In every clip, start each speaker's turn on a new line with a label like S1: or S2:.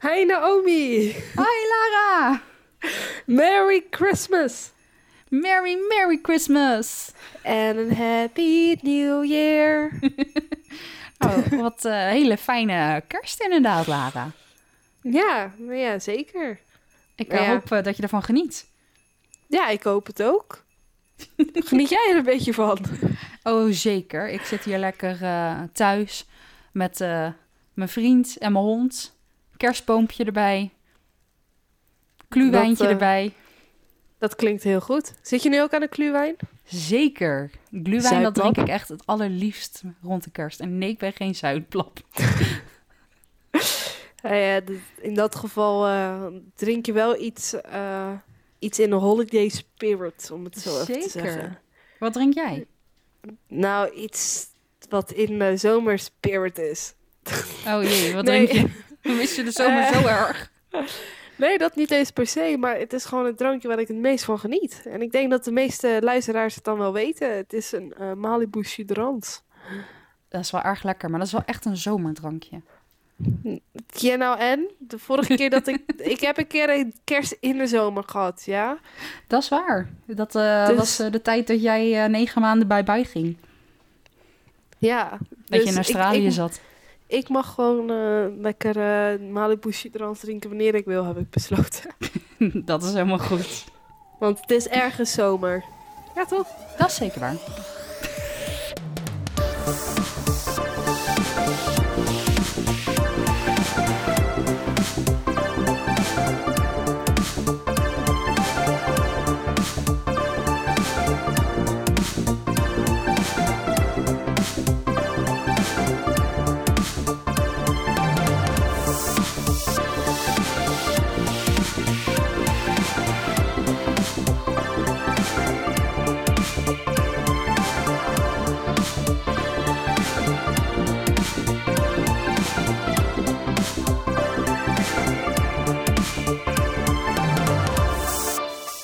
S1: Hi Naomi!
S2: Hi Lara!
S1: Merry Christmas!
S2: Merry Merry Christmas!
S1: En een Happy New Year!
S2: Oh, wat eh, hele fijne kerst inderdaad, Lara.
S1: ja, maar ja, zeker.
S2: Ik eh,
S1: Ja.
S2: hoop eh, dat je ervan geniet.
S1: Ja, ik hoop het ook. Geniet jij er een beetje van?
S2: Oh, zeker. Ik zit hier lekker eh, thuis met eh, mijn vriend en mijn hond. Kerstboompje erbij. Kluwijntje
S1: Dat, eh,
S2: erbij.
S1: Dat klinkt heel goed. Zit je nu ook aan de kluwijn?
S2: Zeker. Gluwijn, dat
S1: Zuidblad?
S2: drink ik echt het allerliefst rond de kerst. En nee, ik ben geen zuidblad.
S1: Eh, d- in dat geval eh, drink je wel iets, eh, iets in de holiday spirit, om het zo even te
S2: Zeker.
S1: zeggen.
S2: Wat drink jij?
S1: Nou, iets wat in de zomerspirit is.
S2: Oh jee, wat
S1: Nee.
S2: drink je? Mis je de zomer
S1: Eh.
S2: zo erg?
S1: Nee, dat niet eens per se, maar het is gewoon het drankje waar ik het meest van geniet. En ik denk dat de meeste luisteraars het dan wel weten. Het is een eh, Malibu Sudrant.
S2: Dat is wel erg lekker, maar dat is wel echt een zomerdrankje.
S1: Ja, nou en? De vorige keer dat ik... ik heb een keer een kerst in de zomer gehad, ja?
S2: Dat is waar. Dat eh,
S1: Dus-
S2: was eh, de tijd dat jij eh, negen maanden bij bij ging.
S1: Ja.
S2: Dat
S1: dus
S2: je in
S1: ik-
S2: Australië
S1: ik,
S2: zat.
S1: Ik, mag gewoon eh, lekker eh, Malibu Sudrant drinken wanneer ik wil, heb ik besloten.
S2: dat is helemaal goed.
S1: Want het is ergens zomer. Ja, toch?
S2: Dat is zeker waar.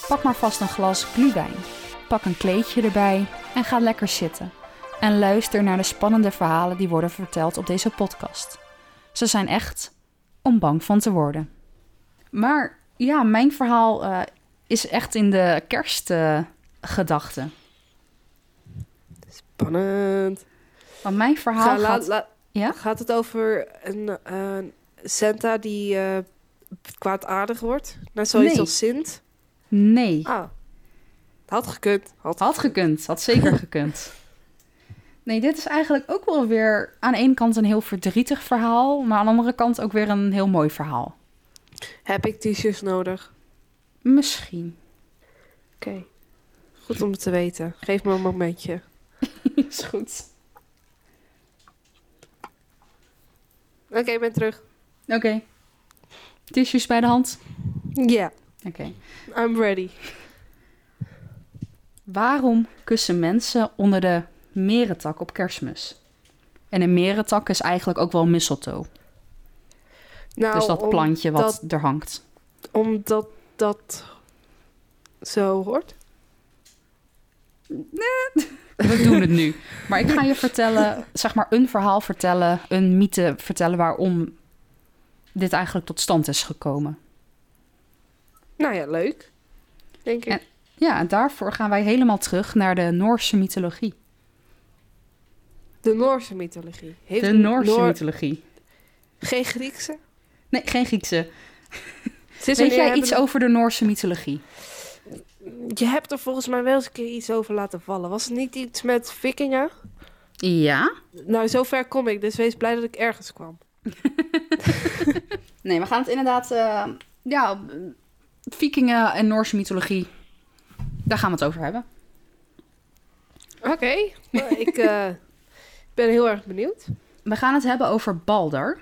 S2: Pak maar vast een glas glühwein. Pak een kleedje erbij en ga lekker zitten. En luister naar de spannende verhalen die worden verteld op deze podcast. Ze zijn echt om bang van te worden. Maar ja, mijn verhaal eh, is echt in de kerstgedachte.
S1: Spannend.
S2: Want mijn verhaal
S1: Ga- la-
S2: gaat...
S1: la-
S2: Ja?
S1: Gaat het over een, een Santa die eh, kwaadaardig wordt? Naar zoiets
S2: Nee.
S1: als Sint?
S2: Nee.
S1: Ah, had gekund. Had.
S2: Had gekund, had zeker gekund. Nee, dit is eigenlijk ook wel weer aan de ene kant een heel verdrietig verhaal, maar aan de andere kant ook weer een heel mooi verhaal.
S1: Heb ik t-shirts nodig?
S2: Misschien.
S1: Oké. Goed om het te weten. Geef me een momentje.
S2: is goed.
S1: Oké, ik ben terug.
S2: Oké. Tissues bij de hand.
S1: Ja,
S2: Oké.
S1: I'm ready.
S2: Waarom kussen mensen onder de merentak op kerstmis? En een merentak is eigenlijk ook wel mistletoe.
S1: Nou,
S2: dus dat
S1: om-
S2: plantje wat
S1: dat-
S2: er hangt.
S1: Omdat dat zo hoort.
S2: We doen het nu. Maar ik ga je vertellen, zeg maar een verhaal vertellen, een mythe vertellen waarom dit eigenlijk tot stand is gekomen.
S1: Nou ja, leuk. Denk ik.
S2: En- Ja, en daarvoor gaan wij helemaal terug naar de Noorse mythologie.
S1: De Noorse mythologie. Heeft
S2: De Noorse
S1: Noor-
S2: mythologie.
S1: Geen Griekse?
S2: Nee, geen Griekse.
S1: Ze is
S2: Weet
S1: een
S2: jij
S1: eerder-
S2: iets over de Noorse mythologie?
S1: Je hebt er volgens mij wel eens een keer iets over laten vallen. Was het niet iets met vikingen?
S2: Ja.
S1: Nou, zover kom ik, dus wees blij dat ik ergens kwam.
S2: Nee, we gaan het inderdaad... eh, ja, vikingen en Noorse mythologie. Daar gaan we het over hebben.
S1: Oké. Maar ik eh, ben heel erg benieuwd.
S2: We gaan het hebben over Balder.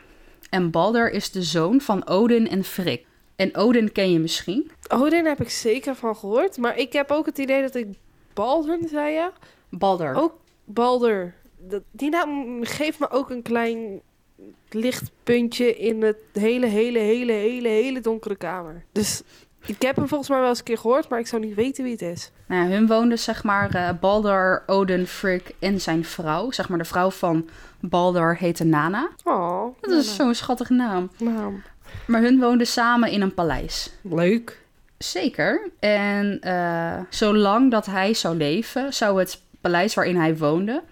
S2: En Balder is de zoon van Odin en Frik. En Odin ken je misschien.
S1: Odin heb ik zeker van gehoord, maar ik heb ook het idee dat ik Balder zei, ja?
S2: Balder.
S1: Ook Balder. Dat, die naam geeft me ook een klein lichtpuntje in het hele, hele, hele, hele, hele donkere kamer. Dus ik heb hem volgens mij wel eens een keer gehoord, maar ik zou niet weten wie het is.
S2: Nou ja, hun woonden zeg maar eh, Balder, Odin, Frik en zijn vrouw. Zeg maar de vrouw van Balder heette Nana.
S1: Oh,
S2: Dat is zo'n schattige naam.
S1: naam.
S2: Maar hun woonden samen in een paleis.
S1: Leuk.
S2: Zeker. En eh, zolang dat hij zou leven, zou het paleis waarin hij woonde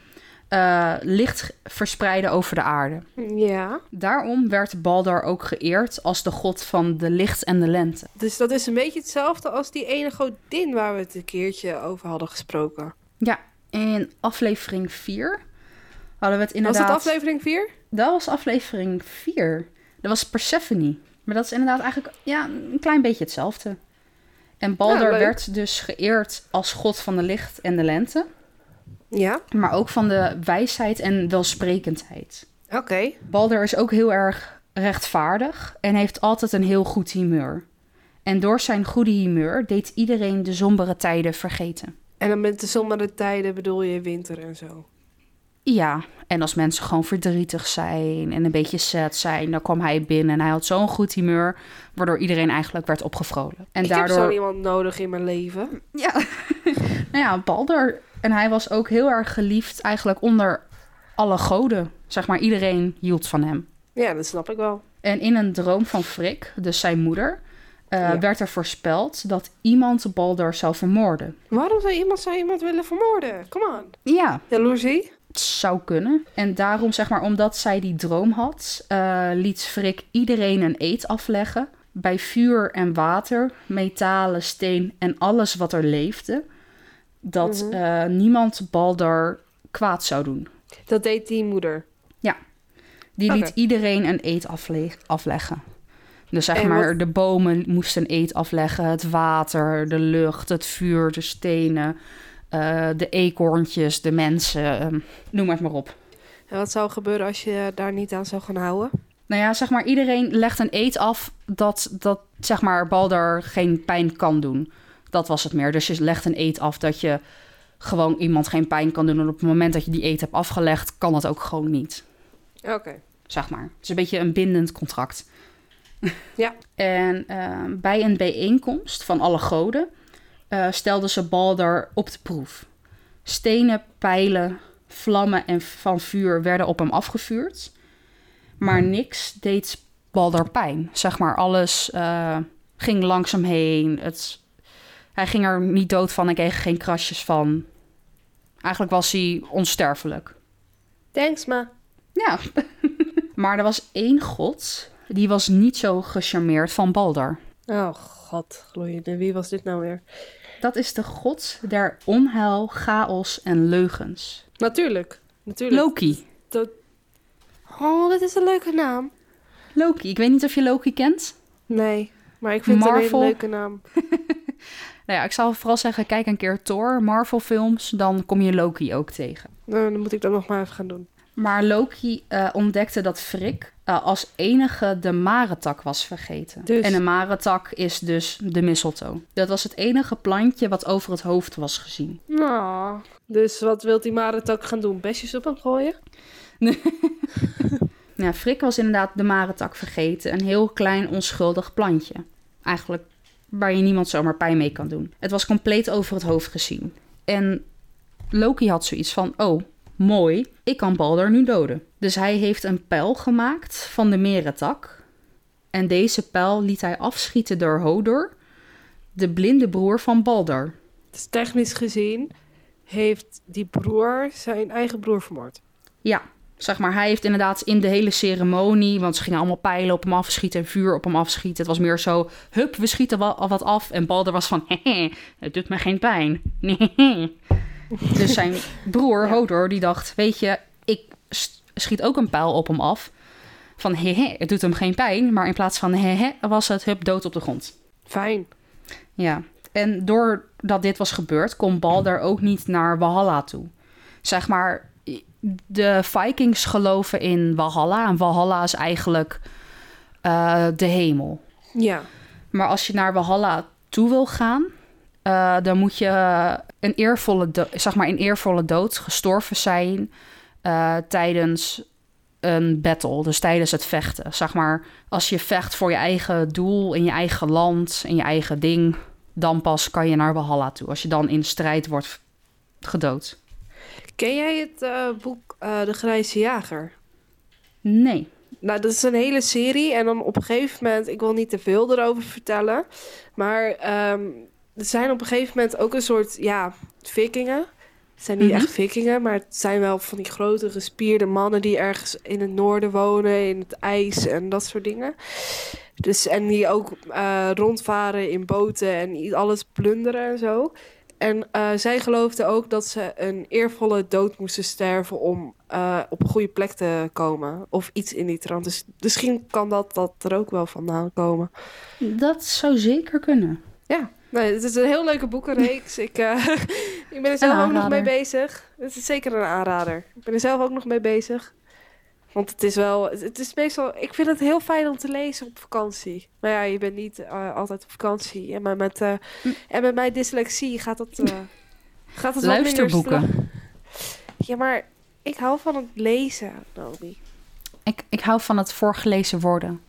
S2: eh, licht verspreiden over de aarde.
S1: Ja.
S2: Daarom werd Baldur ook geëerd als de god van de licht en de lente.
S1: Dus dat is een beetje hetzelfde als die ene godin waar we het een keertje over hadden gesproken.
S2: Ja, in aflevering 4 hadden we het inderdaad...
S1: Was dat aflevering 4?
S2: Dat was aflevering 4. Dat was Persephone. Maar dat is inderdaad eigenlijk ja, een klein beetje hetzelfde. En
S1: Ja,
S2: Baldur
S1: leuk.
S2: werd dus geëerd als god van de licht en de lente.
S1: Ja.
S2: Maar ook van de wijsheid en welsprekendheid.
S1: Oké.
S2: Baldur is ook heel erg rechtvaardig en heeft altijd een heel goed humeur. En door zijn goede humeur deed iedereen de sombere tijden vergeten.
S1: En dan met de sombere tijden bedoel je winter en zo.
S2: Ja, en als mensen gewoon verdrietig zijn en een beetje sad zijn, dan kwam hij binnen en hij had zo'n goed humeur, waardoor iedereen eigenlijk werd opgevrolijk. En
S1: ik heb zo
S2: daardoor.
S1: iemand nodig in mijn leven.
S2: Ja. nou ja, Baldur. En hij was ook heel erg geliefd eigenlijk onder alle goden. Zeg maar, iedereen hield van hem.
S1: Ja, dat snap ik wel.
S2: En in een droom van Frik, dus zijn moeder, eh,
S1: Ja.
S2: werd er voorspeld dat iemand Baldur zou vermoorden.
S1: Waarom zou iemand zou iemand willen vermoorden? Come on.
S2: Ja,
S1: Jaloezie?
S2: het zou kunnen. En daarom, zeg maar, omdat zij die droom had, eh, liet Frik iedereen een eed afleggen. Bij vuur en water, metalen, steen en alles wat er leefde. Dat
S1: Mhm.
S2: eh, niemand Baldur kwaad zou doen.
S1: Dat deed die moeder.
S2: Die liet
S1: Oké.
S2: iedereen een eed afle- afleggen. Dus zeg
S1: En
S2: maar, de bomen moesten een eed afleggen. Het water, de lucht, het vuur, de stenen, eh, de eekhoorntjes, de mensen. ehm, noem het maar op.
S1: En wat zou gebeuren als je daar niet aan zou gaan houden?
S2: Nou ja, zeg maar, iedereen legt een eed af dat, dat zeg maar, Baldur geen pijn kan doen. Dat was het meer. Dus je legt een eed af dat je gewoon iemand geen pijn kan doen. En op het moment dat je die eed hebt afgelegd, kan dat ook gewoon niet
S1: Oké.
S2: zeg maar. Het is een beetje een bindend contract.
S1: Ja.
S2: En eh, bij een bijeenkomst van alle goden eh, stelden ze Balder op de proef. Stenen, pijlen, vlammen en van vuur werden op hem afgevuurd. Maar niks deed Balder pijn. Zeg maar, alles eh, ging langzaam heen. Het, hij ging er niet dood van en kreeg er geen krasjes van. Eigenlijk was hij onsterfelijk.
S1: Thanks, ma.
S2: Ja. maar er was één god, die was niet zo gecharmeerd van Baldur.
S1: Oh, god. Gloeiende. Wie was dit nou weer?
S2: Dat is de god der onheil, chaos en leugens.
S1: Natuurlijk. Natuurlijk.
S2: Loki.
S1: Oh, dit is een leuke naam.
S2: Loki. Ik weet niet of je Loki kent.
S1: Nee, maar ik vind het een
S2: Marvel.
S1: hele leuke naam.
S2: Nou ja, ik zou vooral zeggen, kijk een keer Thor, Marvel films, dan kom je Loki ook tegen.
S1: Nou, dan moet ik dat nog maar even gaan doen.
S2: Maar Loki eh, ontdekte dat Frik eh, als enige de marentak was vergeten.
S1: Dus?
S2: En de marentak is dus de mistletoe. Dat was het enige plantje wat over het hoofd was gezien.
S1: Nou. Dus wat wilt die Marentak gaan doen? Besjes op hem gooien?
S2: Ja, Frik was inderdaad de marentak vergeten. Een heel klein, onschuldig plantje. Eigenlijk waar je niemand zomaar pijn mee kan doen. Het was compleet over het hoofd gezien. En Loki had zoiets van, oh, mooi, ik kan Balder nu doden. Dus hij heeft een pijl gemaakt van de merentak. En deze pijl liet hij afschieten door Hodor, de blinde broer van Balder.
S1: Dus technisch gezien heeft die broer zijn eigen broer vermoord.
S2: Ja, zeg maar, hij heeft inderdaad in de hele ceremonie, want ze gingen allemaal pijlen op hem afschieten en vuur op hem afschieten. Het was meer zo, hup, we schieten wa- al wat af. En Balder was van, hehe, het doet me geen pijn. Hehe. dus zijn broer
S1: Ja.
S2: Hodor, die dacht, weet je, ik s- schiet ook een pijl op hem af. Van, hehe, het doet hem geen pijn. Maar in plaats van, hehe, was het, hup, dood op de grond.
S1: Fijn.
S2: Ja, en doordat dit was gebeurd, kon Balder ook niet naar Valhalla toe. Zeg maar, de Vikings geloven in Valhalla. En Valhalla is eigenlijk eh, de hemel.
S1: Ja.
S2: Maar als je naar Valhalla toe wil gaan, eh, dan moet je een eervolle, do- zeg maar in eervolle dood gestorven zijn eh, tijdens een battle, dus tijdens het vechten. Zeg maar, als je vecht voor je eigen doel, in je eigen land, in je eigen ding, dan pas kan je naar Valhalla toe. Als je dan in strijd wordt gedood.
S1: Ken jij het eh, boek eh, De Grijze Jager?
S2: Nee.
S1: Nou, dat is een hele serie. En dan op een gegeven moment, ik wil niet te veel erover vertellen. Maar ehm, er zijn op een gegeven moment ook een soort, ja, vikingen. Het zijn niet
S2: Mhm.
S1: echt vikingen, maar het zijn wel van die grote gespierde mannen die ergens in het noorden wonen, in het ijs en dat soort dingen. Dus, en die ook eh, rondvaren in boten en i- alles plunderen en zo. En eh, zij geloofden ook dat ze een eervolle dood moesten sterven om eh, op een goede plek te komen. Of iets in die trant. Dus misschien kan dat, dat er ook wel vandaan komen.
S2: Dat zou zeker kunnen.
S1: Ja, nee, het is een heel leuke boekenreeks. ik, eh, ik ben er zelf ook nog
S2: aanrader.
S1: mee bezig. Het is zeker een aanrader. Ik ben er zelf ook nog mee bezig. Want het is wel, het- het is meestal, ik vind het heel fijn om te lezen op vakantie. Maar ja, je bent niet eh, altijd op vakantie. En, maar met, eh, en met mijn dyslexie gaat dat, eh gaat dat wat minder
S2: Luisterboeken.
S1: snel. Ja, maar ik hou van het lezen, Nobi.
S2: Ik, ik hou van het voorgelezen worden.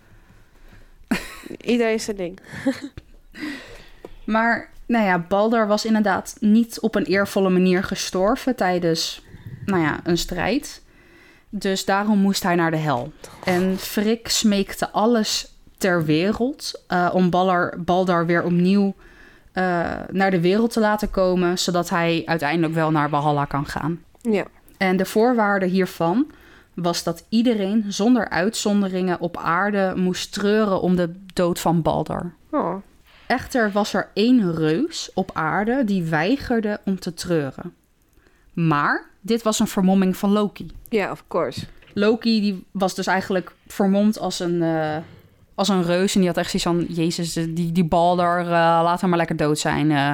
S1: Iedereen zijn ding.
S2: Maar, nou ja, Balder was inderdaad niet op een eervolle manier gestorven tijdens, nou ja, een strijd. Dus daarom moest hij naar de hel. En Frik smeekte alles ter wereld eh, om Balder, Baldar weer opnieuw eh, naar de wereld te laten komen, zodat hij uiteindelijk wel naar Valhalla kan gaan.
S1: Ja.
S2: En de voorwaarde hiervan was dat iedereen zonder uitzonderingen op aarde moest treuren om de dood van Balder.
S1: Oh.
S2: Echter was er één reus op aarde die weigerde om te treuren. Maar dit was een vermomming van Loki.
S1: Ja, of course.
S2: Loki die was dus eigenlijk vermomd als een, eh, als een reus. En die had echt zoiets van... Jezus, eh, die, die Balder, eh, laat hem maar lekker dood zijn. eh,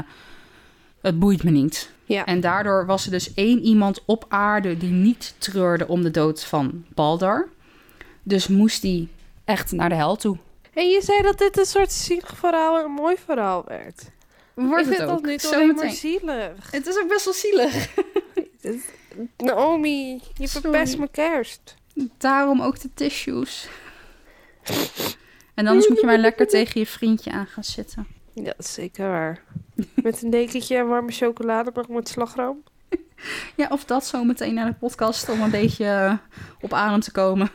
S2: het boeit me niet.
S1: Ja.
S2: En daardoor was er dus één iemand op aarde die niet treurde om de dood van Balder. Dus moest die echt naar de hel toe.
S1: En je zei dat dit een soort zielig verhaal en een mooi verhaal werd.
S2: Wordt
S1: ik vind
S2: het
S1: dat
S2: ook.
S1: nu toch
S2: Zo
S1: alleen maar
S2: meteen.
S1: zielig.
S2: Het is ook best wel zielig.
S1: Naomi, je
S2: Sorry.
S1: verpest mijn kerst.
S2: Daarom ook de tissues. En anders moet je maar lekker tegen je vriendje aan gaan zitten.
S1: Ja, dat is zeker waar. Met een dekentje en warme chocoladebrok met slagroom.
S2: Ja, of dat zo meteen naar de podcast om een beetje eh, op adem te komen.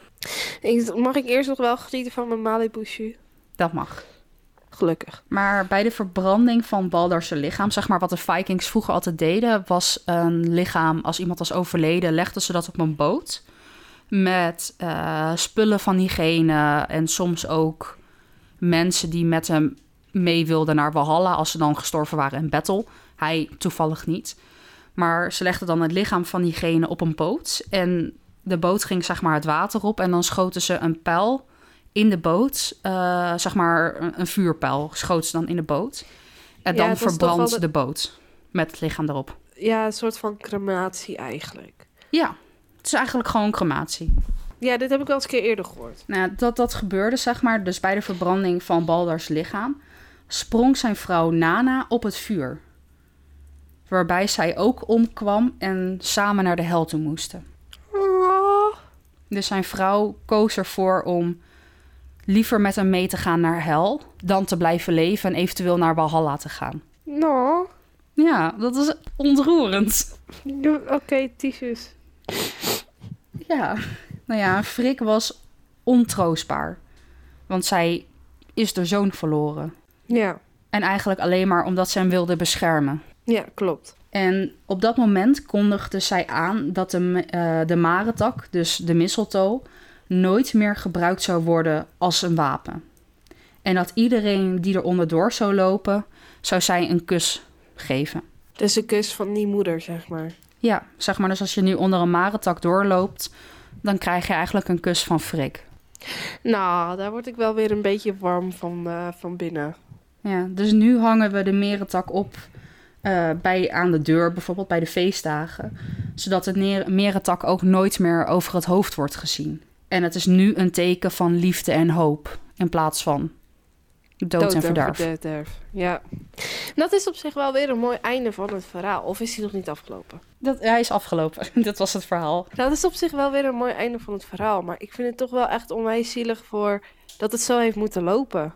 S1: Ik- Mag ik eerst nog wel genieten van mijn Malibu'sje?
S2: Dat mag.
S1: Gelukkig.
S2: Maar bij de verbranding van Baldar's lichaam, zeg maar wat de Vikings vroeger altijd deden, was een lichaam, als iemand was overleden, legden ze dat op een boot. Met eh, spullen van hygiëne en soms ook mensen die met hem mee wilden naar Valhalla als ze dan gestorven waren in battle. Hij toevallig niet. Maar ze legden dan het lichaam van diegene op een boot. En de boot ging zeg maar het water op en dan schoten ze een pijl in de boot, eh, zeg maar een, een vuurpijl, schoot ze dan in de boot. En
S1: Ja,
S2: dan
S1: het was toch
S2: verbrandt
S1: wel
S2: de boot met het lichaam erop.
S1: Ja, een soort van crematie eigenlijk.
S2: Ja, het is eigenlijk gewoon crematie.
S1: Ja, dit heb ik wel eens een keer eerder gehoord.
S2: Nou, dat dat gebeurde, zeg maar, dus bij de verbranding van Baldars lichaam, sprong zijn vrouw Nana op het vuur. Waarbij zij ook omkwam en samen naar de hel toe moesten.
S1: Oh,
S2: Dus zijn vrouw koos ervoor om liever met hem mee te gaan naar hel dan te blijven leven en eventueel naar Valhalla te gaan.
S1: nou.
S2: Ja, dat is ontroerend.
S1: Oké, tissues.
S2: Ja. Nou ja, Frik was ontroostbaar. Want zij is haar zoon verloren.
S1: Ja.
S2: En eigenlijk alleen maar omdat ze hem wilde beschermen.
S1: ja, klopt.
S2: En op dat moment kondigde zij aan dat de, eh de marentak, dus de mistletoe, nooit meer gebruikt zou worden als een wapen. En dat iedereen die er onderdoor zou lopen, zou zij een kus geven.
S1: Dus een kus van die moeder, zeg maar.
S2: Ja, zeg maar, dus als je nu onder een marentak doorloopt, dan krijg je eigenlijk een kus van Frik.
S1: Nou, daar word ik wel weer een beetje warm van, eh, van binnen.
S2: Ja, dus nu hangen we de merentak op eh, bij, aan de deur, bijvoorbeeld bij de feestdagen. Zodat het ne- merentak ook nooit meer over het hoofd wordt gezien. En het is nu een teken van liefde en hoop in plaats van dood, en verderf.
S1: verderf. Ja. Dat is op zich wel weer een mooi einde van het verhaal. Of is hij nog niet afgelopen? Nou,
S2: Dat, hij is afgelopen. Dat was het verhaal.
S1: Dat is op zich wel weer een mooi einde van het verhaal. Maar ik vind het toch wel echt onwijs zielig voor dat het zo heeft moeten lopen.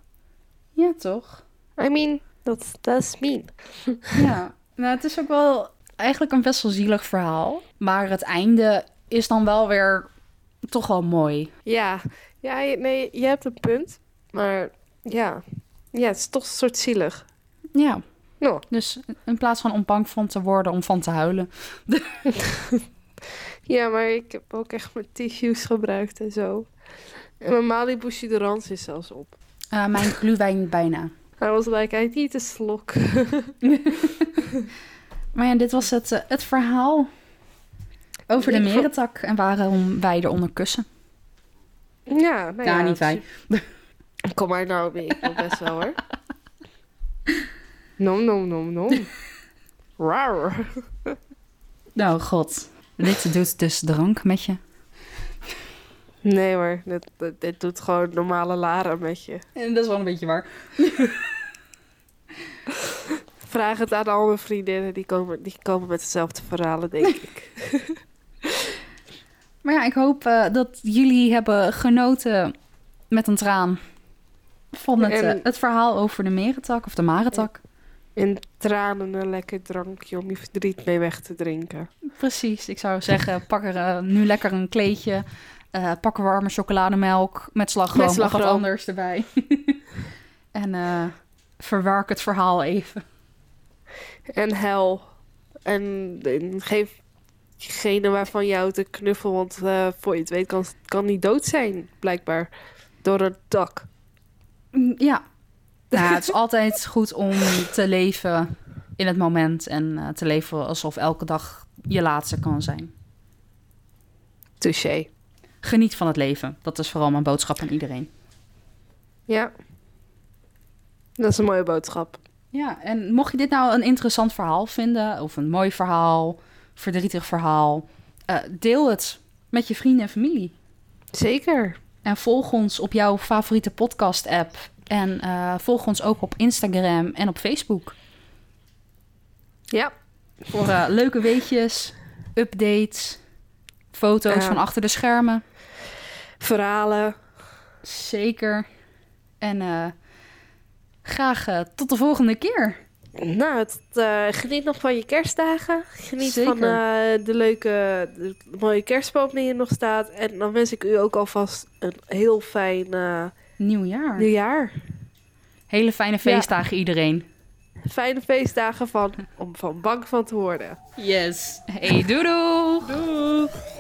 S2: Ja, toch?
S1: I mean, dat dat is mean.
S2: Ja. Nou, het is ook wel eigenlijk een best wel zielig verhaal. Maar het einde is dan wel weer toch wel mooi.
S1: Ja, ja je- nee, je hebt een punt. Maar ja. ja, het is toch een soort zielig.
S2: Ja.
S1: Nou,
S2: Dus in plaats van om bang van te worden, om van te huilen.
S1: Ja, maar ik heb ook echt mijn tissues gebruikt en zo. En mijn Malibu Siderans is zelfs op.
S2: Eh, mijn gluwijn bijna.
S1: Hij was like, I need a slok.
S2: Maar ja, dit was het, eh, het verhaal over de
S1: Ik vond-
S2: merentak en waarom wij eronder kussen.
S1: Ja, nou
S2: Ja,
S1: ja,
S2: niet wij.
S1: dus- Kom maar nou, ik wil best wel hoor. Nom, nom, nom, nom. Raar.
S2: Nou, god. Dit doet dus drank met je.
S1: Nee hoor, dit, dit, dit doet gewoon normale laren met je.
S2: En dat is wel een beetje waar.
S1: Vraag het aan al mijn vriendinnen, die komen, die komen met dezelfde verhalen, denk ik.
S2: Maar ja, ik hoop eh, dat jullie hebben genoten met een traan van het,
S1: En-
S2: eh, het verhaal over de merentak of de marentak.
S1: In tranen een lekker drankje om je verdriet mee weg te drinken.
S2: Precies, ik zou zeggen, pak er eh, nu lekker een kleedje. eh, pak er warme chocolademelk met slagroom,
S1: Met
S2: of wat
S1: slagroom.
S2: anders erbij. en eh verwerk het verhaal even.
S1: En hel. En, en geef degene waarvan je houdt een knuffel, want eh, voor je het weet kan, kan die dood zijn, blijkbaar. Door het dak.
S2: Mm, Ja. Nou, ja, het is altijd goed om te leven in het moment en eh, te leven alsof elke dag je laatste kan zijn.
S1: Touché.
S2: Geniet van het leven. Dat is vooral mijn boodschap aan iedereen.
S1: Ja. Dat is een mooie boodschap.
S2: Ja, en mocht je dit nou een interessant verhaal vinden, of een mooi verhaal, verdrietig verhaal, eh, deel het met je vrienden en familie.
S1: Zeker.
S2: En volg ons op jouw favoriete podcast-app. En eh, volg ons ook op Instagram en op Facebook.
S1: Ja.
S2: Voor eh, leuke weetjes, updates, foto's
S1: Ja.
S2: van achter de schermen.
S1: Verhalen.
S2: Zeker. En eh, graag eh, tot de volgende keer.
S1: Nou, het, eh, geniet nog van je kerstdagen. Geniet
S2: Zeker.
S1: van eh, de leuke, de mooie kerstboom die er nog staat. En dan wens ik u ook alvast een heel fijn eh,
S2: Nieuwjaar.
S1: nieuwjaar.
S2: Hele fijne feestdagen iedereen.
S1: fijne feestdagen van, om van bang van te worden.
S2: Yes. Hey, doei doei.
S1: Doeg!